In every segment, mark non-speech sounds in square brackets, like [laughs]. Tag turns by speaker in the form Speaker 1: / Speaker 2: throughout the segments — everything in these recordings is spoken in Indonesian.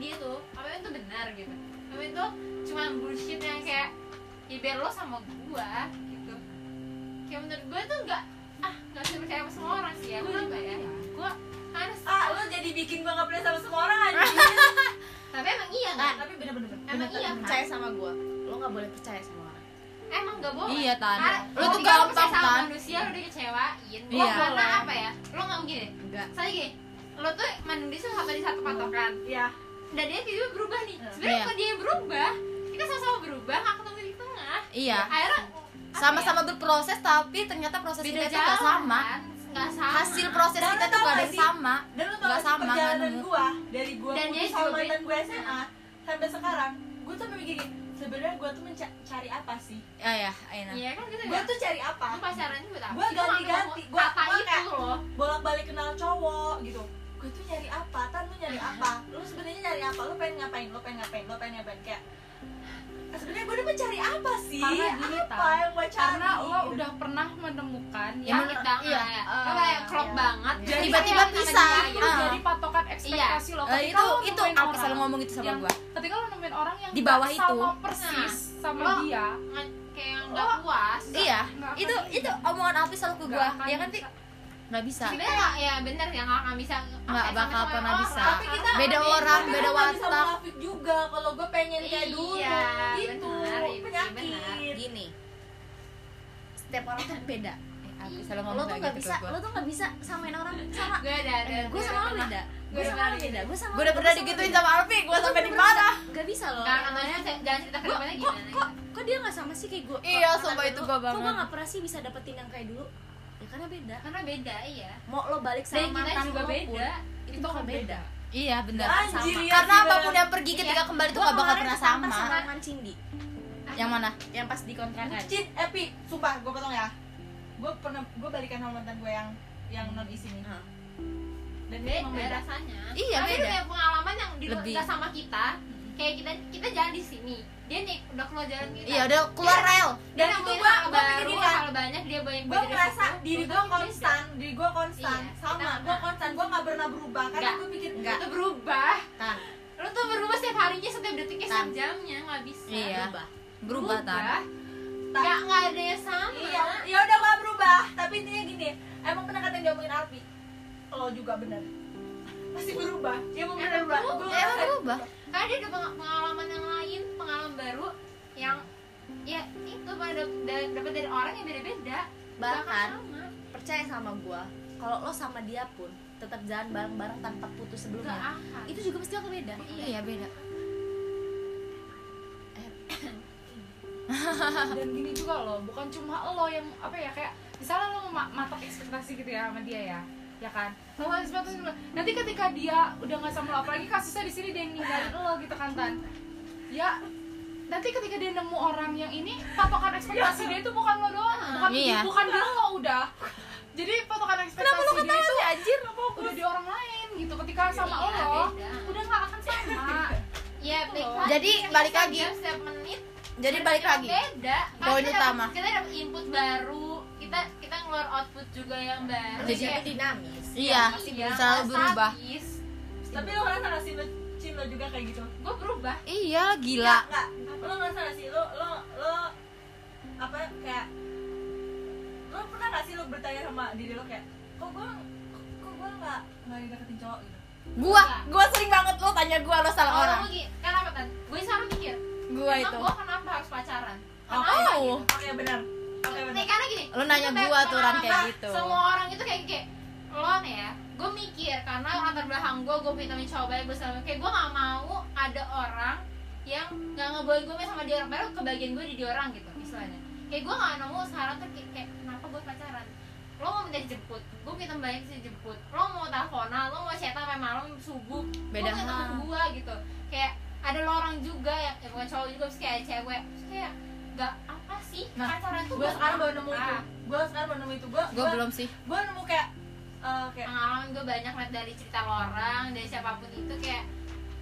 Speaker 1: dia tuh Amin tuh benar gitu Amin tuh cuma bullshit yang kayak ya biar lo sama gua gitu kayak menurut gue tuh nggak ah nggak bisa percaya sama semua orang sih ya gue juga ya gue harus
Speaker 2: ah lu jadi bikin gua nggak percaya sama semua orang aja
Speaker 3: Ah,
Speaker 1: tapi emang iya kan
Speaker 2: tapi bener-bener
Speaker 1: emang
Speaker 3: Bener,
Speaker 1: iya
Speaker 3: Tan,
Speaker 1: kan
Speaker 3: percaya sama gue lo nggak boleh percaya sama orang
Speaker 1: emang nggak boleh
Speaker 3: Iya, Tan.
Speaker 1: Karena
Speaker 3: Lu tuh
Speaker 1: ketika
Speaker 3: gampang,
Speaker 1: percaya sama
Speaker 3: Tan.
Speaker 1: manusia lo dikecewain lo
Speaker 3: Iya.
Speaker 1: karena apa ya lo nggak mungkin deh
Speaker 3: enggak
Speaker 1: misalnya gini lo tuh manusia satu di satu patokan
Speaker 2: ya
Speaker 1: dan dia tiba-tiba berubah nih sebenarnya
Speaker 3: Iya.
Speaker 1: kalau dia berubah kita sama-sama berubah nggak ketemu di tengah
Speaker 3: iya
Speaker 1: akhirnya apa
Speaker 3: sama-sama berproses tapi ternyata
Speaker 1: ya,
Speaker 3: proses
Speaker 1: beda
Speaker 3: kita tuh
Speaker 1: jalan kan?
Speaker 3: nggak sama
Speaker 1: nggak sama
Speaker 3: hasil proses
Speaker 2: Dan
Speaker 3: kita
Speaker 2: lu
Speaker 3: tuh
Speaker 2: tau
Speaker 3: gak ada
Speaker 2: gak
Speaker 3: yang
Speaker 2: sih?
Speaker 3: sama
Speaker 2: dan lu tau gak
Speaker 3: Nggak
Speaker 2: sih
Speaker 3: sama,
Speaker 2: perjalanan
Speaker 3: kan?
Speaker 2: gua dari gua
Speaker 1: Dan dia
Speaker 2: putus sama
Speaker 1: juga-
Speaker 2: mantan gua SMA sampai sekarang gua tuh memang gini sebenarnya gua tuh menca- cari apa sih
Speaker 3: ya ya Aina
Speaker 1: iya kan kita
Speaker 2: gua tuh cari apa
Speaker 1: lu pacaran buat apa
Speaker 2: Gua
Speaker 1: Itu maksud
Speaker 2: ganti-ganti.
Speaker 1: aku,
Speaker 2: Gua-
Speaker 1: apa
Speaker 2: gua kayak-
Speaker 1: itu loh
Speaker 2: bolak-balik kenal cowok gitu gue tuh nyari apa tan lu nyari apa lu sebenarnya nyari apa lu pengen ngapain lu pengen ngapain lu pengen ngapain kayak "Ah, sebenarnya gue udah mencari apa sih
Speaker 4: Karena gini,
Speaker 2: apa
Speaker 4: Tan.
Speaker 2: yang gue cari
Speaker 4: karena lo
Speaker 2: gitu.
Speaker 4: udah pernah menemukan
Speaker 3: Ya,
Speaker 4: yang
Speaker 1: sakit banget
Speaker 3: iya,
Speaker 2: Oh,
Speaker 1: lo kayak ya, klop
Speaker 3: iya.
Speaker 1: banget
Speaker 3: Iya.
Speaker 1: Jadi
Speaker 3: Tiba-tiba
Speaker 1: kayak
Speaker 3: pisah.
Speaker 1: sama dia,
Speaker 4: itu
Speaker 1: gitu.
Speaker 3: Ah.
Speaker 4: jadi patokan ekspektasi lo
Speaker 3: Eh,
Speaker 4: ketika
Speaker 3: itu
Speaker 4: lo
Speaker 3: itu
Speaker 4: nemuin
Speaker 3: aku
Speaker 4: orang
Speaker 3: selalu ngomong gitu sama
Speaker 4: yang-
Speaker 3: gue
Speaker 4: ketika lo nemuin orang yang
Speaker 3: Di bawah
Speaker 4: nggak
Speaker 3: itu. Nah,
Speaker 4: sama persis sama
Speaker 1: Lo-
Speaker 4: dia
Speaker 1: Nge- kayak nggak puas
Speaker 3: iya
Speaker 4: nggak akan
Speaker 3: itu
Speaker 4: bisa.
Speaker 3: itu omongan Alfi selalu ke gue
Speaker 4: nggak akan
Speaker 3: ya kan Fi?
Speaker 4: bisa.
Speaker 3: nggak bisa
Speaker 1: sebenarnya nggak- ya bener ya nggak akan bisa pakai
Speaker 3: Iya. Nggak bakal
Speaker 1: sama-sama
Speaker 3: pernah
Speaker 1: orang.
Speaker 3: bisa.
Speaker 1: Tapi kita
Speaker 3: Beda
Speaker 1: harus-
Speaker 3: orang,
Speaker 2: Tapi
Speaker 3: beda
Speaker 2: kan nggak bisa
Speaker 3: watak.
Speaker 2: munafik juga kalau gue pengen kayak
Speaker 1: Iya,
Speaker 2: dulu gitu
Speaker 1: benar, iya, benar.
Speaker 2: penyakit
Speaker 3: gini setiap orang tuh beda Eh, Alfi selalu
Speaker 1: Iya.
Speaker 5: Oh,
Speaker 3: ngomong
Speaker 1: Lo
Speaker 3: kayak
Speaker 1: tuh
Speaker 3: gitu ke gua.
Speaker 1: lo tuh nggak bisa
Speaker 3: samain orang sama
Speaker 1: gue ada ada
Speaker 3: gue Eh, sama lo
Speaker 1: pernah.
Speaker 3: beda
Speaker 1: Gue
Speaker 3: gue sama
Speaker 1: pernah
Speaker 3: lo beda gue sama
Speaker 1: gitu.
Speaker 3: gue udah pernah digituin sama Alfi gue sampai di mana
Speaker 1: Gak bisa loh. Jangan jangan cerita ke
Speaker 3: Gua-
Speaker 1: depannya
Speaker 3: kok-
Speaker 1: gimana.
Speaker 3: kok-
Speaker 1: kok dia gak sama sih kayak gue?
Speaker 3: iya sumpah itu gue
Speaker 5: kok gue
Speaker 3: banget
Speaker 5: gak pernah sih bisa dapetin yang kayak dulu ya karena beda
Speaker 1: Karena beda iya.
Speaker 5: mau lo balik
Speaker 1: Dan
Speaker 5: sama
Speaker 1: kita
Speaker 5: mantan
Speaker 1: juga
Speaker 5: lo pun
Speaker 1: beda.
Speaker 5: itu,
Speaker 4: itu
Speaker 5: bakal
Speaker 4: kan
Speaker 5: beda
Speaker 4: beda
Speaker 3: iya benar
Speaker 2: anjir
Speaker 3: Sama.
Speaker 2: ya
Speaker 3: karena
Speaker 2: sih,
Speaker 3: apapun
Speaker 2: bener.
Speaker 3: yang pergi ketika kembali tuh
Speaker 5: Gua
Speaker 3: gak bakal
Speaker 5: kemarin
Speaker 3: pernah
Speaker 5: ketampar
Speaker 3: sama
Speaker 5: sama mantan Cindy
Speaker 3: yang mana
Speaker 5: yang pas di kontrakan
Speaker 2: Cin, Epi, eh, sumpah gue potong ya gue pernah gue balikan sama mantan gue yang yang non isi nih
Speaker 5: Hah.
Speaker 2: dan dia emang
Speaker 1: Beda
Speaker 2: beda
Speaker 1: rasanya.
Speaker 3: Iya,
Speaker 1: Tapi
Speaker 3: beda.
Speaker 1: itu kayak pengalaman yang di
Speaker 3: Lebih.
Speaker 1: gak sama kita. Kayak kita kita jalan di sini. Dia nih udah keluar jalan kita.
Speaker 3: iya udah keluar rel
Speaker 1: Dan
Speaker 2: Dan
Speaker 1: itu
Speaker 2: itu
Speaker 1: gua
Speaker 2: gua- gua pikir
Speaker 1: baru
Speaker 2: gini kan.
Speaker 1: hal banyak dia banyak
Speaker 2: gue merasa diri gue
Speaker 1: gua
Speaker 2: konstan diri gue konstan
Speaker 1: Iya, kita
Speaker 2: sama gue
Speaker 1: sama.
Speaker 2: konstan gue nggak pernah berubah karena
Speaker 1: Nggak.
Speaker 2: gue pikir
Speaker 1: Lu tuh berubah.
Speaker 3: Tan.
Speaker 1: Lu tuh berubah setiap harinya, setiap detiknya,
Speaker 3: Tan.
Speaker 1: setiap jamnya nggak bisa.
Speaker 3: iya berubah tan
Speaker 2: Tan.
Speaker 1: Gak, gak ada yang sama.
Speaker 2: Iya, ya udah gak berubah. Tapi intinya gini, emang pernah kata yang diomongin Arfi, lo juga benar. Pasti berubah. Dia
Speaker 1: Emang
Speaker 2: mau benar berubah.
Speaker 1: berubah.
Speaker 2: Gua
Speaker 3: ya emang
Speaker 2: ngerasa-
Speaker 3: berubah
Speaker 1: karena dia ada peng- pengalaman yang lain pengalaman baru yang ya itu pada dapat dari orang yang beda-beda
Speaker 3: Bahkan,
Speaker 1: Gak akan sama
Speaker 3: percaya sama gue
Speaker 5: kalau lo sama dia pun tetap jalan bareng-bareng tanpa putus
Speaker 1: gak
Speaker 5: sebelumnya
Speaker 1: akan
Speaker 5: itu juga pasti bakal beda
Speaker 3: iya beda
Speaker 4: dan gini juga lo bukan cuma lo yang apa ya kayak misalnya lo ma- matok ekspektasi gitu ya sama dia ya ya kan Lo harus batas dulu. nanti ketika dia udah nggak sama lo apalagi kasusnya di sini dia yang ninggalin lo gitu kan tan ya nanti ketika dia nemu orang yang ini patokan ekspektasi dia itu bukan lo doang bukan
Speaker 3: Iya.
Speaker 4: bukan dia lo udah jadi patokan ekspektasi dia itu
Speaker 3: anjir
Speaker 4: udah di orang lain gitu ketika sama
Speaker 1: Iya,
Speaker 4: lo
Speaker 1: beda.
Speaker 4: udah nggak akan sama
Speaker 1: ya baik
Speaker 4: Jadi,
Speaker 1: lagi, setiap
Speaker 3: balik
Speaker 1: jam,
Speaker 3: lagi.
Speaker 1: setiap menit
Speaker 3: jadi balik
Speaker 1: kita
Speaker 3: lagi
Speaker 1: beda Karena
Speaker 3: Poin
Speaker 1: kita
Speaker 3: utama.
Speaker 1: dapat- kita dapat input baru kita kita ngeluar output juga yang baru
Speaker 3: Jadi
Speaker 1: ya.
Speaker 5: dinamis
Speaker 3: iya selalu berubah
Speaker 2: Tapi lo ngerasa gak sih lo, Cin, lo juga kayak gitu?
Speaker 1: gue berubah
Speaker 3: iya gila
Speaker 2: Nggak, nggak. Lo ngerasa gak sih lo lo lo apa kayak lo pernah gak sih lo bertanya sama diri lo kayak kok gue kok gue nggak nggak deketin cowok gitu?
Speaker 3: gua gua sering banget lo tanya gua lo salah
Speaker 1: Kalau
Speaker 3: orang
Speaker 1: gua gini, kan apa kan gue sekarang mikir
Speaker 3: Oh. gua
Speaker 1: emang
Speaker 3: itu
Speaker 1: gue kenapa harus pacaran
Speaker 3: oh,
Speaker 1: Kenapa gitu?
Speaker 2: Oke benar. Oke
Speaker 1: Nih
Speaker 2: benar.
Speaker 1: karena gini,
Speaker 3: Lu nanya
Speaker 1: kita kayak
Speaker 3: gua tuh, Ran, kayak
Speaker 1: kenapa
Speaker 3: gitu.
Speaker 1: Semua orang itu kayak kayak lo nih ya, gue mikir karena latar belakang gue, gue punya temen cowok baik, gue selama kayak gue gak mau ada orang yang gak ngebolehin gue main sama dia orang baru kebagian gue di dia orang gitu misalnya. Kayak gue gak mau sekarang tuh kayak, kayak kenapa gue pacaran? Lo mau minta dijemput, gue punya temen baik sih dijemput. Lo mau teleponan, lo mau chat sampai malam subuh, lo
Speaker 3: Beda
Speaker 1: punya temen
Speaker 3: hal.
Speaker 1: gue gitu. Kayak ada lo orang juga yang ya bukan cowok juga, terus kayak ada cewek, terus kayak gak apa sih
Speaker 2: Nah,
Speaker 1: pacaran tuh
Speaker 2: Gue
Speaker 1: buat
Speaker 2: sekarang baru nemu itu.
Speaker 1: apa?
Speaker 2: Gue sekarang baru nemu itu. Gue
Speaker 3: Ah. gua belum sih
Speaker 2: Gue nemu kayak eh, kayak
Speaker 1: pengalaman gue banyak banget dari cerita orang dari siapapun itu kayak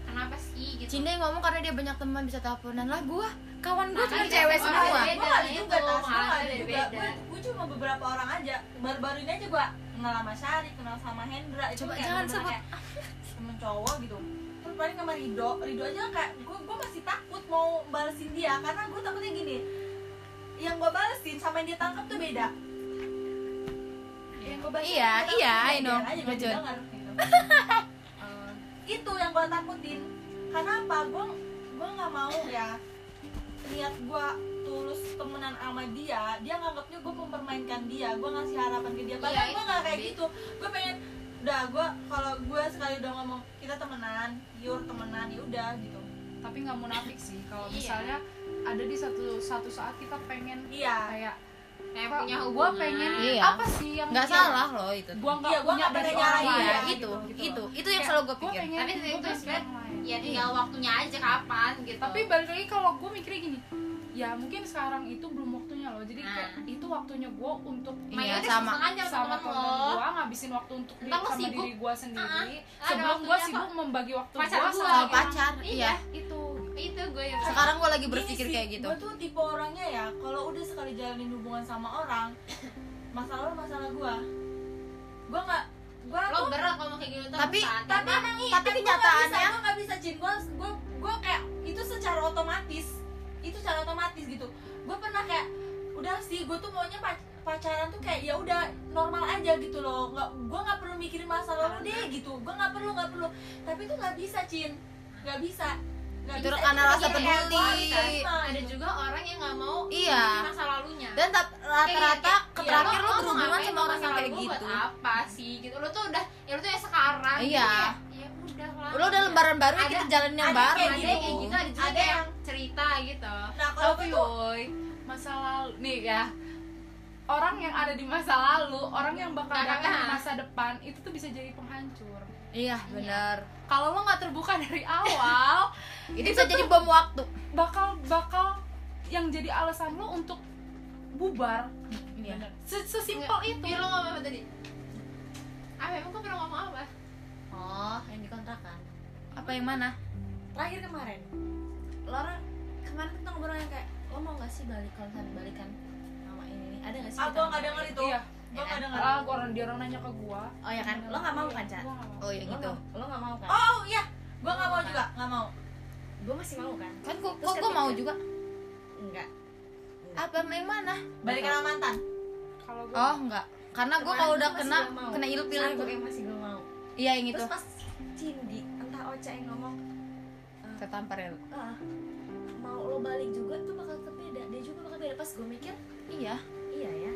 Speaker 1: kenapa sih gitu
Speaker 3: Cinda yang ngomong karena dia banyak teman bisa teleponan lah gua kawan gua cuma
Speaker 1: Makanya
Speaker 3: cewek
Speaker 1: semua
Speaker 3: semua
Speaker 1: beda,
Speaker 2: gue gak ada
Speaker 1: itu
Speaker 3: iya,
Speaker 2: juga tas gue
Speaker 1: pengalaman
Speaker 2: gak ada juga
Speaker 1: beda.
Speaker 2: gue gue cuma beberapa orang aja baru-baru ini aja gue kenal sama Syari kenal sama Hendra itu
Speaker 3: Coba
Speaker 2: kayak
Speaker 3: jangan
Speaker 2: bener-bener
Speaker 3: sebut.
Speaker 2: kayak temen cowok gitu pun paling sama Rido Rido aja kan kayak gue gue masih takut mau balesin dia karena gue takutnya gini yang gue balesin sama yang dia tangkap tuh beda yang gue balesin
Speaker 3: Iya,
Speaker 2: sama yang
Speaker 3: iya,
Speaker 2: tangkap
Speaker 3: I know,
Speaker 2: beda aja, biar
Speaker 3: jujur.
Speaker 2: didengar,
Speaker 3: [laughs]
Speaker 2: gitu. Eh, itu yang gue takutin karena apa gue gue nggak mau ya niat gue tulus temenan sama dia dia nganggapnya gue mempermainkan dia gue ngasih harapan ke dia bahkan
Speaker 1: Iya,
Speaker 2: gue nggak kayak
Speaker 1: itu.
Speaker 2: gitu gue pengen udah gue kalau gue sekali udah ngomong kita temenan yur temenan ya udah gitu
Speaker 4: tapi nggak munafik sih kalau
Speaker 1: Iya.
Speaker 4: misalnya ada di satu satu saat kita pengen
Speaker 2: iya
Speaker 4: kayak
Speaker 1: kayak
Speaker 4: "Kok
Speaker 1: punya
Speaker 4: gua
Speaker 1: hubungan
Speaker 4: pengen
Speaker 3: Iya.
Speaker 4: apa sih yang
Speaker 3: nggak
Speaker 4: yang
Speaker 3: salah loh itu
Speaker 4: gua nggak
Speaker 2: Iya, gua
Speaker 4: punya
Speaker 2: nggak pernah
Speaker 4: dari orang
Speaker 2: nyalahin.
Speaker 4: lain
Speaker 3: iya
Speaker 2: iya,
Speaker 3: itu
Speaker 4: gitu, gitu
Speaker 3: itu
Speaker 4: loh.
Speaker 3: itu yang
Speaker 4: Kayak,
Speaker 3: selalu gue
Speaker 4: gua
Speaker 3: pikir iya.
Speaker 4: pengen
Speaker 1: Tapi itu-
Speaker 4: gua
Speaker 1: itu
Speaker 4: pengen
Speaker 1: sebenarnya-
Speaker 4: orang lain.
Speaker 1: ya tinggal waktunya aja kapan gitu
Speaker 4: tapi balik lagi kalau gue mikirnya gini ya mungkin sekarang itu belum waktunya loh jadi kayak
Speaker 1: Nah.
Speaker 4: itu waktunya gue untuk
Speaker 1: Main
Speaker 3: Iya,
Speaker 1: udah
Speaker 3: sama.
Speaker 1: sama Nah, aja sama
Speaker 4: sama
Speaker 1: temen
Speaker 4: keluarga
Speaker 1: lo
Speaker 4: gue ngabisin waktu untuk diri,
Speaker 1: Entah lo
Speaker 4: sama
Speaker 1: sibuk.
Speaker 4: diri gue sendiri
Speaker 1: Ah, ah. Ada
Speaker 4: sebelum gue
Speaker 1: waktunya
Speaker 4: sibuk membagi waktu gue
Speaker 1: Pacar
Speaker 4: sama
Speaker 1: gua.
Speaker 4: gitu.
Speaker 3: sama
Speaker 1: Iya.
Speaker 4: orang.
Speaker 3: pacar iya
Speaker 4: itu
Speaker 1: itu gue yang
Speaker 3: sekarang gue lagi berpikir kayak gitu
Speaker 2: gue tuh tipe orangnya ya kalau udah sekali jalanin hubungan sama orang masalah lo masalah gue gue nggak gue
Speaker 1: lo berat ngomong kayak gitu terus
Speaker 3: Tapi-
Speaker 1: saat-
Speaker 2: tapi
Speaker 1: Emang-
Speaker 2: emang iya
Speaker 3: tapi kenyataannya-
Speaker 2: gue nggak bisa Jin gue gue gue kayak itu secara otomatis itu secara otomatis gitu gue pernah kayak udah sih gue tuh maunya pac- pacaran tuh kayak ya udah normal aja gitu loh nggak gue nggak perlu mikirin masa lalu deh gitu gue nggak perlu nggak perlu tapi itu nggak bisa Cin nggak bisa nggak
Speaker 3: Itu
Speaker 2: ya. bisa.
Speaker 3: karena rasa
Speaker 2: kayak
Speaker 3: peduli.
Speaker 2: gua harus terima,
Speaker 1: ada
Speaker 2: gitu.
Speaker 1: juga orang yang nggak mau
Speaker 3: Iya.
Speaker 1: ngomongin masa lalunya
Speaker 3: dan tap- rata-rata
Speaker 1: Kayak- kayak,
Speaker 3: terakhir
Speaker 1: ya,
Speaker 3: lo
Speaker 1: mau
Speaker 3: berhubungan
Speaker 1: ngapain
Speaker 3: sama orang yang
Speaker 1: masa
Speaker 3: kayak
Speaker 1: lalu
Speaker 3: gitu
Speaker 1: buat apa sih gitu lo tuh udah ya lo tuh ya sekarang gitu
Speaker 3: Iya.
Speaker 1: kayak, ya udah lah
Speaker 3: lo udah lembaran baru ya
Speaker 1: Ada-
Speaker 3: kita jalanin yang
Speaker 2: ada
Speaker 3: baru Iya,
Speaker 1: ada yang kayak gitu ada juga
Speaker 2: Ada
Speaker 1: yang
Speaker 2: yang-
Speaker 1: cerita gitu
Speaker 2: nah kalau
Speaker 4: tapi
Speaker 2: gue tuh
Speaker 4: woi masa lalu nih ya orang yang ada di masa lalu orang yang bakal
Speaker 1: Nah,
Speaker 4: datang di
Speaker 1: nah.
Speaker 4: masa depan itu tuh bisa jadi penghancur
Speaker 3: iya benar
Speaker 4: kalau lo nggak terbuka [laughs] dari awal
Speaker 3: itu bisa jadi bom waktu
Speaker 4: bakal bakal yang jadi alasan lo untuk bubar
Speaker 3: Iya.
Speaker 4: Se- sesimpel itu
Speaker 1: Iya, lo ngomong apa tadi apa emang gue pernah ngomong apa
Speaker 5: oh yang dikontrakan
Speaker 3: apa yang mana
Speaker 5: terakhir kemarin Laura kemarin kita ngobrol yang kayak lo mau gak sih balik kalau misalnya balikan sama ini nih? ada gak sih
Speaker 2: ah
Speaker 5: kita
Speaker 2: gue nggak
Speaker 5: ngobrol?
Speaker 2: denger itu
Speaker 4: iya
Speaker 2: gue
Speaker 3: Eh,
Speaker 2: nggak denger
Speaker 4: ah gua orang dia orang nanya ke gua
Speaker 5: oh ya kan lo gak mau kan Ca?
Speaker 4: Gua nggak mau.
Speaker 3: oh ya
Speaker 5: Lo
Speaker 3: gitu
Speaker 5: nggak- lo gak mau kan
Speaker 2: oh iya gue nggak mau juga nggak mau
Speaker 5: gue masih mau kan
Speaker 3: kan gua
Speaker 5: Terus
Speaker 3: kok gua mau
Speaker 5: ketika-
Speaker 3: juga
Speaker 5: enggak
Speaker 3: apa yang mana
Speaker 2: balikan sama mantan
Speaker 4: kalau gua
Speaker 3: oh enggak karena gua kalau udah
Speaker 5: Kemarin
Speaker 3: kena
Speaker 5: masih gak mau.
Speaker 3: kena ilpil
Speaker 5: satu
Speaker 3: gitu
Speaker 5: yang masih gue mau
Speaker 3: iya
Speaker 1: Gitu.
Speaker 3: yang itu
Speaker 5: terus pas Cindy entah Ocha yang ngomong
Speaker 3: ketampar ya lo.
Speaker 5: ah mau lo balik juga tuh bakal tetep beda dia juga bakal beda pas gue mikir
Speaker 3: iya
Speaker 5: iya ya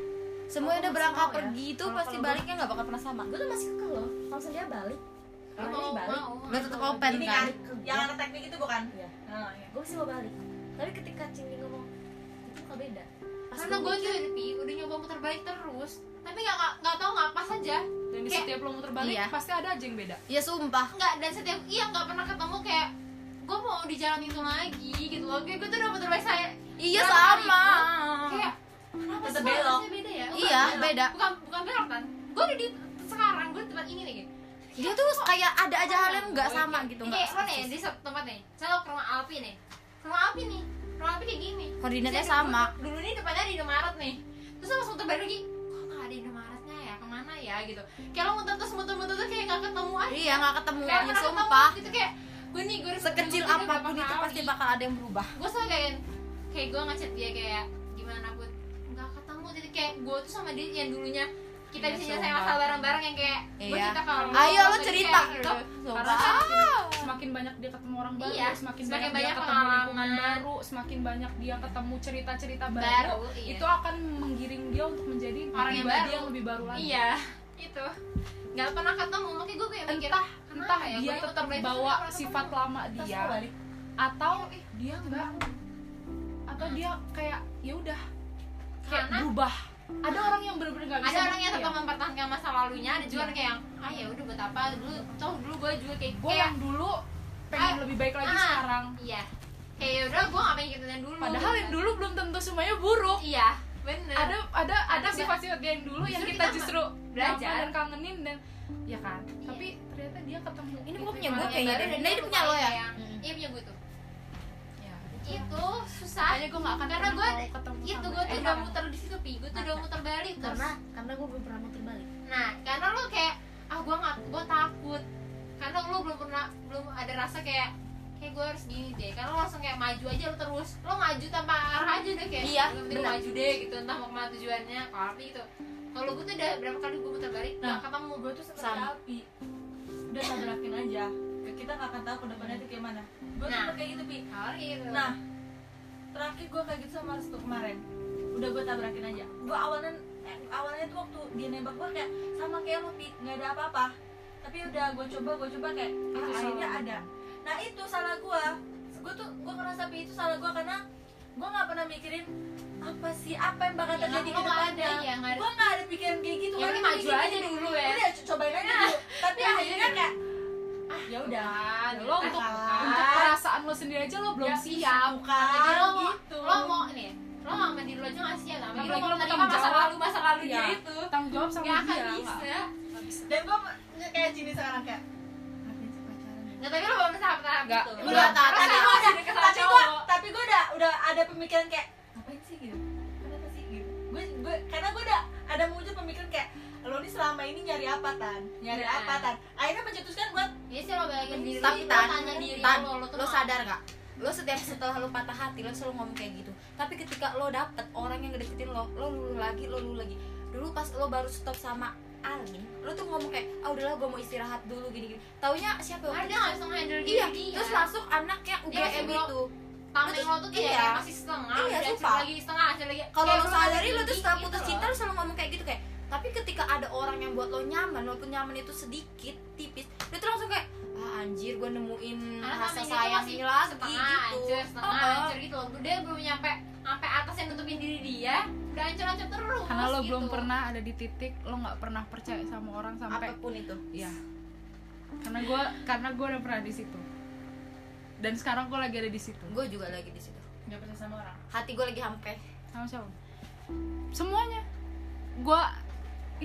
Speaker 3: semua
Speaker 5: Kalau
Speaker 3: udah
Speaker 5: masih
Speaker 3: berangkat
Speaker 5: mau ya.
Speaker 3: pergi itu
Speaker 5: Kalau-
Speaker 3: pasti
Speaker 5: kalau
Speaker 3: baliknya nggak bakal pernah sama
Speaker 5: gue tuh masih kekeh loh kalau misalnya dia balik
Speaker 1: lo
Speaker 5: kalau
Speaker 1: mau
Speaker 5: dia balik
Speaker 1: mau
Speaker 3: lo tetap open
Speaker 2: Ini
Speaker 3: kan
Speaker 2: kan? yang ada teknik itu bukan
Speaker 5: Iya.
Speaker 2: Oh, iya.
Speaker 5: gue masih mau balik tapi ketika Cindy ngomong itu bakal beda pas
Speaker 1: karena gue tuh
Speaker 3: kan
Speaker 1: Pi, udah nyoba muter balik terus tapi nggak nggak- nggak tau nggak pas aja
Speaker 4: dan di
Speaker 1: kayak-
Speaker 4: setiap lo muter balik
Speaker 3: Iya.
Speaker 4: pasti ada aja yang beda
Speaker 3: ya sumpah
Speaker 1: nggak dan setiap iya nggak pernah ketemu kayak gue mau di jalan itu lagi gitu loh gue, gue tuh udah muter balik saya
Speaker 3: iya
Speaker 1: Berapa kali
Speaker 3: sama
Speaker 1: gua kayak kenapa
Speaker 2: Tetep
Speaker 1: sih kok
Speaker 2: belok.
Speaker 1: rasanya beda ya
Speaker 3: iya
Speaker 1: Bukan
Speaker 3: beda
Speaker 1: belok. bukan bukan belok kan gue udah di sekarang gue di tempat ini lagi
Speaker 3: dia tuh kayak ada aja hal yang nggak
Speaker 1: Kayak-
Speaker 3: sama gitu nggak
Speaker 1: kayak lo nih di satu tempat nih saya ke rumah Alpi nih ke rumah Alpi nih rumah Alpi kayak gini
Speaker 3: koordinatnya
Speaker 1: Saya
Speaker 3: sama
Speaker 1: dulu, dulu nih depannya di Indomaret nih terus lo pas muter balik lagi kok nggak ada Indomaretnya ya kemana ya gitu kayak lo muter terus muter muter tuh kayak nggak ketemu aja
Speaker 3: iya nggak ketemu
Speaker 1: kayak
Speaker 3: ya
Speaker 1: pernah ketemu
Speaker 3: sumpah
Speaker 1: gitu kayak gue nih gue udah
Speaker 3: sekecil
Speaker 1: ketemu dia
Speaker 3: apapun
Speaker 1: berapa
Speaker 3: itu
Speaker 1: kali.
Speaker 3: pasti bakal ada yang berubah
Speaker 1: gue selalu kayak kayak gue ngechat dia kayak gimana pun nggak ketemu jadi kayak gue tuh sama dia yang dulunya kita
Speaker 4: Iya,
Speaker 1: bisa
Speaker 4: sumpah.
Speaker 1: nyelesain masalah bareng-bareng yang kayak gue
Speaker 3: Iya.
Speaker 1: cerita kalau
Speaker 3: ayo lo cerita
Speaker 1: Iya,
Speaker 4: Tuh, karena
Speaker 3: sumpah
Speaker 4: semakin, semakin banyak dia ketemu orang baru
Speaker 1: gitu. Iya,
Speaker 4: semakin,
Speaker 1: semakin
Speaker 4: banyak,
Speaker 1: banyak
Speaker 4: dia ketemu lingkungan
Speaker 1: pengalaman.
Speaker 4: baru semakin banyak dia ketemu cerita cerita baru,
Speaker 1: baru iya.
Speaker 4: itu akan menggiring dia untuk menjadi
Speaker 1: Orang yang
Speaker 4: pribadi
Speaker 1: baru.
Speaker 4: yang lebih baru lagi
Speaker 1: iya itu nggak pernah ketemu makanya gue kayak mikir
Speaker 4: entah
Speaker 1: kenapa
Speaker 4: entah
Speaker 1: ya
Speaker 4: dia
Speaker 1: gua ikut
Speaker 4: tetap
Speaker 1: terlibat tapi
Speaker 4: bawa
Speaker 1: nggak pernah
Speaker 4: sifat
Speaker 1: ketemu.
Speaker 4: lama
Speaker 2: Terus
Speaker 4: dia
Speaker 2: gua balik
Speaker 4: atau
Speaker 1: Iya, ih,
Speaker 4: dia enggak atau
Speaker 1: Hmm.
Speaker 4: dia kayak ya udah kayak
Speaker 1: karena
Speaker 4: berubah ada orang yang benar-benar nggak bisa
Speaker 1: ada orang yang
Speaker 4: ngerti ya.
Speaker 1: tetap mempertahankan masa lalunya ada juga orang kayak yang ah ya udah buat apa dulu toh dulu gue juga kayak
Speaker 4: gue
Speaker 1: kayak
Speaker 4: yang dulu pengen
Speaker 1: Ah,
Speaker 4: lebih baik lagi
Speaker 1: Iya. ah.
Speaker 4: sekarang
Speaker 1: iya kayak udah gue nggak pengen gitu dan dulu
Speaker 4: padahal yang
Speaker 1: gitu.
Speaker 4: dulu belum tentu semuanya buruk
Speaker 1: iya bener
Speaker 4: ada ada ada
Speaker 1: Ada
Speaker 4: sifat-sifat dia yang dulu yang
Speaker 1: Justru
Speaker 4: kita
Speaker 1: kita
Speaker 4: justru
Speaker 1: belajar.
Speaker 4: nyaman dan kangenin dan ya kan
Speaker 1: Iya.
Speaker 4: tapi ternyata dia ketemu
Speaker 3: Ini
Speaker 4: gitu.
Speaker 3: gua punya
Speaker 1: Orang
Speaker 3: gua
Speaker 1: yang
Speaker 3: kayaknya
Speaker 1: Iya, baru
Speaker 3: deh.
Speaker 1: dan
Speaker 3: Nah, ini
Speaker 1: dia
Speaker 3: punya
Speaker 1: tuh
Speaker 3: lo ya?
Speaker 1: kayak yang-
Speaker 3: Mm.
Speaker 1: iya punya gue tuh
Speaker 4: Ya.
Speaker 1: itu susah
Speaker 4: Makanya gue gak akan
Speaker 1: Iya. karena gue
Speaker 4: mau ketemu
Speaker 1: itu
Speaker 4: sama
Speaker 1: gue tuh
Speaker 4: eh,
Speaker 1: udah
Speaker 4: orang.
Speaker 1: muter di situ pi gue tuh udah muter balik terus
Speaker 5: karena karena gue belum pernah muter balik
Speaker 1: nah karena lo kayak ah gue nggak gue takut karena lo belum pernah belum ada rasa kayak kayak gue harus gini deh karena lo langsung kayak maju aja lo terus lo maju tanpa arah aja deh kayak
Speaker 3: Iya,
Speaker 1: "Lo
Speaker 3: benar.
Speaker 1: maju deh gitu entah mau kemana tujuannya tapi gitu kalau gue tuh udah berapa kali gue putar balik
Speaker 2: Nah,
Speaker 1: nggak ketemu
Speaker 2: gue tuh seperti
Speaker 3: Sama.
Speaker 2: api udah tabrakin aja kita nggak akan tahu ke depannya itu kayak mana gue
Speaker 1: Nah.
Speaker 2: sempet kayak gitu pi
Speaker 1: Hal gitu
Speaker 2: Nah, terakhir gue kayak gitu sama Restu kemarin Udah gue tabrakin aja Gue awalnya, eh, awalnya tuh waktu dia nembak gue kayak Sama kayak lo, Pi, gak ada apa-apa Tapi udah gue coba, gue coba kayak ah,
Speaker 4: Itu
Speaker 2: akhirnya
Speaker 4: salah.
Speaker 2: ada Nah itu salah gue Gue tuh, gue ngerasa Pi itu salah gue karena Gue gak pernah mikirin apa sih, apa yang bakal
Speaker 1: Ya,
Speaker 2: terjadi
Speaker 1: lo
Speaker 2: ke
Speaker 1: nggak
Speaker 2: depannya
Speaker 1: ada, ya, nggak ada.
Speaker 2: Gue gak ada pikiran kayak gitu
Speaker 1: Ya,
Speaker 2: karena
Speaker 1: mending maju
Speaker 2: kayak
Speaker 1: aja
Speaker 2: gini.
Speaker 1: dulu ya.
Speaker 2: Udah, co- cobain
Speaker 1: [laughs]
Speaker 2: aja dulu Tapi
Speaker 1: Ya,
Speaker 2: akhirnya
Speaker 1: iya.
Speaker 2: kayak Ah, ya udah
Speaker 1: Bukan,
Speaker 4: lo
Speaker 1: gitu.
Speaker 4: untuk,
Speaker 2: Bukan.
Speaker 4: untuk perasaan lo sendiri aja lo belum
Speaker 1: Ya,
Speaker 4: siap
Speaker 2: Bukan,
Speaker 1: Jadi lo mau
Speaker 2: gitu.
Speaker 1: lo mau nih lo sama diri lo aja nggak siap tapi lo
Speaker 4: Apalagi
Speaker 1: mau
Speaker 4: lo mau
Speaker 1: terima masa
Speaker 4: tanggung jawab.
Speaker 1: lalu masa lalu dia
Speaker 4: Iya.
Speaker 1: itu
Speaker 4: tanggung jawab sama
Speaker 1: nggak
Speaker 4: dia
Speaker 1: akan
Speaker 4: nggak?
Speaker 1: bisa
Speaker 2: Dan gue kayak gini sekarang kayak
Speaker 1: nggak tapi lo belum sampai tahap
Speaker 4: Nggak.
Speaker 1: itu
Speaker 4: Belum.
Speaker 1: Terus
Speaker 2: tapi
Speaker 1: kayak
Speaker 2: gue
Speaker 1: masih
Speaker 2: udah
Speaker 1: deket sama
Speaker 2: tapi gue
Speaker 1: cowok.
Speaker 2: tapi gue udah udah ada pemikiran kayak ngapain sih gitu kenapa sih gitu gue gue karena gue udah ada muncul pemikiran kayak lo nih selama ini nyari apa tan nyari
Speaker 1: Nah.
Speaker 2: apa tan akhirnya mencetuskan buat
Speaker 1: Iya sih lo balikin diri
Speaker 3: Tapi,
Speaker 1: lo
Speaker 3: Tan,
Speaker 1: tanya diri
Speaker 3: Tan,
Speaker 1: lo lo tuh
Speaker 3: lo
Speaker 1: mau-
Speaker 3: sadar gak? Lo setiap setelah lo patah hati, lo selalu ngomong kayak gitu Tapi ketika lo dapet orang yang ngedeketin lo, lo lulu lagi, lo lulu lagi Dulu pas lo baru stop sama Alin, lo tuh ngomong kayak, ah udahlah gue mau istirahat dulu gini-gini Taunya siapa
Speaker 1: karena
Speaker 3: ya?
Speaker 1: dia nggak bisa handle diri
Speaker 3: Iya,
Speaker 1: dia.
Speaker 3: terus langsung anaknya
Speaker 1: Dia masih
Speaker 3: UGM
Speaker 1: belum-
Speaker 3: itu
Speaker 1: tameng
Speaker 3: terus-
Speaker 1: lo tuh kayak
Speaker 3: iya.
Speaker 1: masih setengah
Speaker 3: Iya,
Speaker 1: udah
Speaker 3: sumpah.
Speaker 1: acil lagi setengah acil lagi
Speaker 3: Kalau
Speaker 1: Kayak
Speaker 3: lo
Speaker 1: belum
Speaker 3: sadari,
Speaker 1: ada
Speaker 3: lo tuh
Speaker 1: tinggi
Speaker 3: setelah
Speaker 1: gitu
Speaker 3: putus
Speaker 1: loh.
Speaker 3: cinta, lo selalu ngomong kayak gitu kayak tapi ketika ada orang yang buat lo nyaman, walaupun nyaman itu sedikit, tipis, lo tuh langsung kayak, ah anjir gue nemuin
Speaker 1: Karena
Speaker 3: rasa
Speaker 1: tameng itu
Speaker 3: sayang
Speaker 1: masih
Speaker 3: ini lagi
Speaker 1: setengah
Speaker 3: gitu
Speaker 1: hancur setengah
Speaker 3: Heeh.
Speaker 1: hancur gitu loh dia belum nyampe sampai atas yang nutupin diri dia udah hancur hancur terus
Speaker 4: karena lo
Speaker 1: gitu.
Speaker 4: belum pernah ada di titik lo nggak pernah percaya sama orang sampai
Speaker 3: Apapun itu
Speaker 4: ya karena gue karena gue udah pernah di situ dan sekarang gue lagi ada di situ
Speaker 3: gue juga lagi di situ
Speaker 2: nggak percaya sama orang
Speaker 3: hati gue lagi hampe
Speaker 4: sama siapa semuanya gue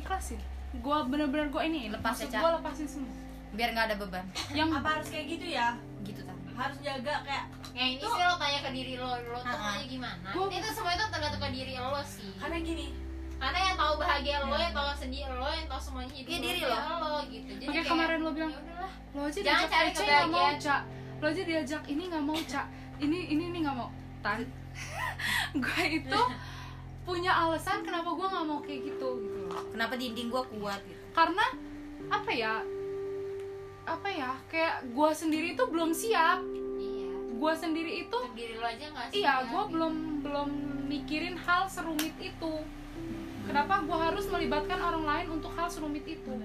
Speaker 4: ikhlasin gue bener-bener gue ini
Speaker 3: Lepas ya, Ca.
Speaker 4: gue lepasin semua
Speaker 3: biar nggak ada beban
Speaker 4: yang
Speaker 2: apa harus kayak gitu ya
Speaker 3: gitu kan
Speaker 2: harus jaga kayak
Speaker 1: ya ini
Speaker 2: Tuh.
Speaker 1: sih lo tanya ke diri lo lo tuh
Speaker 3: Ah, ah.
Speaker 1: maunya gimana
Speaker 4: Gua-
Speaker 1: itu semua itu tergantung ke diri lo sih
Speaker 2: karena gini
Speaker 1: karena yang tahu bahagia lo yang tahu sedih lo yang tahu semuanya hidup
Speaker 3: Iya,
Speaker 1: lo,
Speaker 3: diri
Speaker 1: ya
Speaker 3: lo.
Speaker 1: lo gitu jadi
Speaker 4: Makanya
Speaker 1: kayak,
Speaker 4: kemarin lo bilang,
Speaker 1: "Ya udahlah."
Speaker 4: lo aja
Speaker 1: Jangan
Speaker 4: diajak
Speaker 1: cari
Speaker 4: cari nggak mau
Speaker 1: kebahagiaan.
Speaker 4: cak lo aja diajak ini nggak mau cak ini ini ini nggak mau tan [laughs] gue itu punya alasan kenapa gue nggak mau kayak gitu gitu loh
Speaker 3: kenapa dinding gue kuat gitu
Speaker 4: karena apa ya apa ya kayak gue sendiri itu belum siap
Speaker 1: iya
Speaker 4: gue sendiri itu
Speaker 1: untuk diri lo aja nggak sih
Speaker 4: iya gue belum belum mikirin hal serumit itu kenapa gue harus melibatkan orang lain untuk hal serumit itu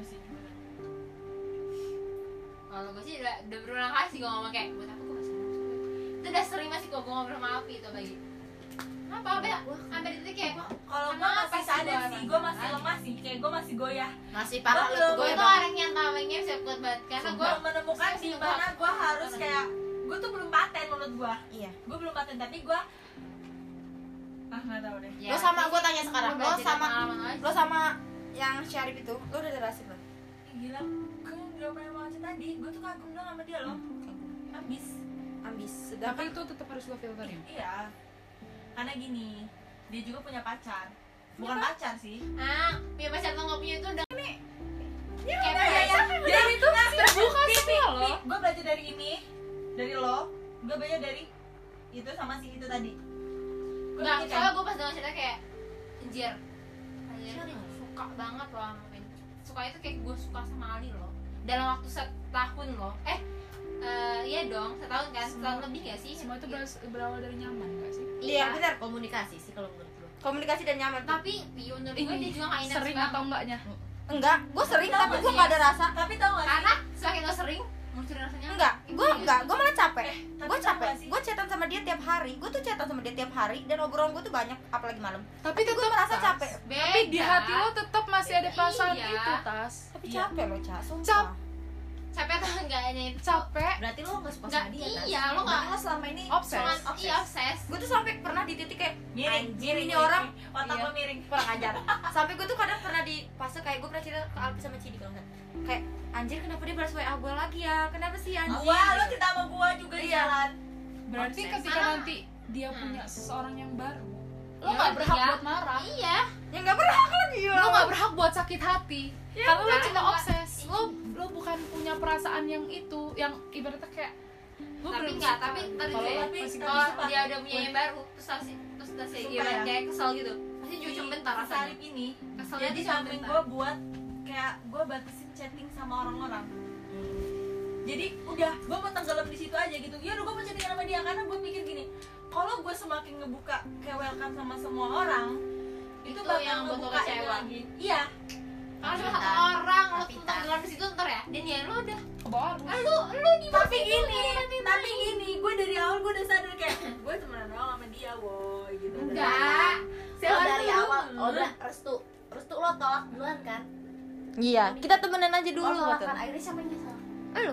Speaker 1: kalau gue sih udah, udah berulang kali sih gue ngomong kayak buat apa gue masih harus gue?" itu udah sering masih gue gue ngobrol sama Api itu lagi apa apa ya sampai di titik kayak
Speaker 2: kalau gue
Speaker 1: Kenapa
Speaker 2: masih
Speaker 1: sih
Speaker 2: sadar
Speaker 1: gua
Speaker 2: sih
Speaker 1: orang
Speaker 2: gue masih
Speaker 1: lagi?
Speaker 2: lemah sih kayak gue masih goyah
Speaker 3: masih parah
Speaker 2: Gua
Speaker 3: lu
Speaker 2: belum-
Speaker 3: tuh
Speaker 1: gue
Speaker 3: gue
Speaker 1: tuh
Speaker 3: bang
Speaker 1: orang yang tamengnya bisa kuat banget karena gue
Speaker 2: gue menemukan di mana gue harus kayak gue tuh belum paten menurut gue
Speaker 3: iya
Speaker 2: gue belum paten tapi gue ah nggak tahu deh
Speaker 1: Ya,
Speaker 3: lo sama gue tanya sekarang lo sama
Speaker 1: lo
Speaker 3: lo sama yang syarif itu lo udah ada rasa belum
Speaker 2: Ih, gila gue nggak pernah mau aja tadi gue tuh kagum dong sama dia loh habis
Speaker 3: ambis sedangkan
Speaker 4: tapi itu tetap harus gue filterin
Speaker 2: iya karena gini dia juga punya pacar bukan pacar sih
Speaker 1: ah punya pacar atau nggak punya itu udah nih kayak
Speaker 2: Iya,
Speaker 4: ya?
Speaker 2: iya.
Speaker 4: jadi itu terbuka semua loh
Speaker 2: gue belajar dari ini dari lo gue belajar dari itu sama si itu tadi gue
Speaker 1: nggak
Speaker 2: mikir
Speaker 1: soalnya
Speaker 2: kan?
Speaker 4: kan?
Speaker 2: kayak,
Speaker 1: gue pas dengar cerita kayak anjir anjir suka banget loh sama Ben suka itu kayak gue suka sama Ali loh dalam waktu setahun loh eh eh, iya dong setahun kan setahun lebih gak sih
Speaker 4: semua itu
Speaker 1: Gitu.
Speaker 4: beras- berawal dari nyaman gak sih
Speaker 3: iya
Speaker 1: iya
Speaker 3: benar
Speaker 6: komunikasi sih kalau menurut gue
Speaker 3: komunikasi dan nyaman tapi
Speaker 1: tapi iya, menurut gue dia juga nggak
Speaker 4: sering atau enggaknya
Speaker 3: enggak gue sering
Speaker 2: Tapi
Speaker 3: tapi
Speaker 2: tau
Speaker 3: gue
Speaker 2: gak
Speaker 3: gak ada rasa
Speaker 2: tapi tau gak sih
Speaker 1: karena semakin lo sering muncul rasanya
Speaker 3: enggak gue
Speaker 1: Iya,
Speaker 3: enggak gue malah capek
Speaker 2: Eh, tapi
Speaker 3: gue
Speaker 2: tau
Speaker 3: capek
Speaker 2: gak sih?
Speaker 3: gue chatan sama dia tiap hari gue tuh chatan sama dia tiap hari dan obrolan gue tuh banyak apalagi malam
Speaker 4: tapi
Speaker 3: tapi gue
Speaker 4: tetap
Speaker 3: merasa
Speaker 4: Tas.
Speaker 3: capek
Speaker 1: beda
Speaker 4: tapi di hati lo tetap masih ada perasaan
Speaker 1: Iya.
Speaker 4: itu tas
Speaker 3: tapi
Speaker 2: Iya.
Speaker 3: capek lo cak sumpah
Speaker 4: Cap-
Speaker 1: capek atau enggaknya itu
Speaker 4: capek
Speaker 6: berarti lo nggak suka
Speaker 1: Nggak,
Speaker 6: sama dia kan?
Speaker 1: iya lo nggak
Speaker 3: Padahal lo selama ini
Speaker 4: Obses.
Speaker 1: cuman
Speaker 3: Obses.
Speaker 1: iya obses
Speaker 3: gue tuh sampai pernah di titik kayak
Speaker 2: miring
Speaker 3: anjir ini
Speaker 2: miring,
Speaker 3: orang
Speaker 2: miring. otak
Speaker 3: Iya.
Speaker 2: lo miring
Speaker 3: kurang ajar
Speaker 2: [laughs]
Speaker 3: sampai gue tuh kadang pernah di fase kayak gue pernah cerita ke Alpi sama Cidi kalau nggak salah. kayak anjir kenapa dia balas WA gue lagi ya kenapa sih anjir
Speaker 2: gua
Speaker 1: Iya.
Speaker 2: lo cerita sama gua juga di
Speaker 3: Iya.
Speaker 2: jalan
Speaker 4: berarti
Speaker 3: Obses.
Speaker 4: ketika
Speaker 1: Karena-
Speaker 4: nanti dia
Speaker 1: Hmm.
Speaker 4: punya seseorang yang baru lo
Speaker 1: Ya,
Speaker 4: nggak berhak
Speaker 1: iya.
Speaker 4: buat marah
Speaker 1: iya
Speaker 3: ya nggak berhak lagi ya
Speaker 4: lo Iya. nggak berhak buat sakit hati karena lo
Speaker 1: karena
Speaker 4: cuma
Speaker 1: gua-
Speaker 4: obses
Speaker 1: iya
Speaker 4: lo lo bukan punya perasaan yang itu yang ibaratnya kayak gue
Speaker 1: tapi enggak tapi tadi
Speaker 4: gitu." Kalau
Speaker 1: tuh ya
Speaker 2: tapi
Speaker 1: kalau
Speaker 2: sumpah,
Speaker 1: dia ada punya yang baru terus masih terus udah sih
Speaker 2: Sumpah
Speaker 1: gimana
Speaker 2: ya.
Speaker 1: kayak kesel gitu pasti cuma cuma bentar rasanya
Speaker 2: Sarip ini
Speaker 1: keselnya
Speaker 2: jadi
Speaker 1: dia cuma
Speaker 2: samping
Speaker 1: bentar
Speaker 2: gue buat kayak gue batasin chatting sama orang-orang jadi udah gue mau tenggelam di situ aja gitu ya udah gue mau chatting sama dia karena gue mikir gini kalau gue semakin ngebuka kayak welcome sama semua orang itu,
Speaker 1: Itu
Speaker 2: bakal
Speaker 1: yang buat lo
Speaker 2: ngebuka itu
Speaker 1: kecewa.
Speaker 2: lagi iya
Speaker 1: kalau cuma satu
Speaker 3: Pintar.
Speaker 1: orang lo
Speaker 3: Pintar.
Speaker 1: tentang dalam di situ ntar ya dan ya lo udah
Speaker 4: baru
Speaker 1: ah, lu lu di
Speaker 2: tapi gini tapi gini gue dari awal gue udah sadar kayak gue temenan doang sama dia woi gitu
Speaker 1: enggak
Speaker 3: Sel dari
Speaker 2: Aduh.
Speaker 3: awal oh udah restu restu lo tolak duluan kan
Speaker 5: Iya, kita temenan aja dulu
Speaker 3: lo tolak
Speaker 5: gitu.
Speaker 3: kan akhirnya siapa yang nyesel
Speaker 5: Lu.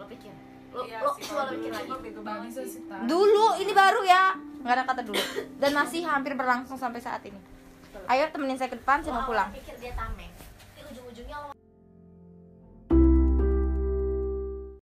Speaker 3: lo pikir lo
Speaker 2: Iya
Speaker 1: Iya
Speaker 3: lo coba lo pikir
Speaker 1: gitu.
Speaker 3: lagi
Speaker 2: gitu.
Speaker 4: bisa sih Tan.
Speaker 5: Dulu, ini baru ya. Nggak ada kata dulu. Dan masih hampir berlangsung sampai saat ini. Ayo temenin saya ke depan, saya
Speaker 3: Lo
Speaker 5: mau
Speaker 3: awalnya
Speaker 5: pulang.
Speaker 3: pikir dia tameng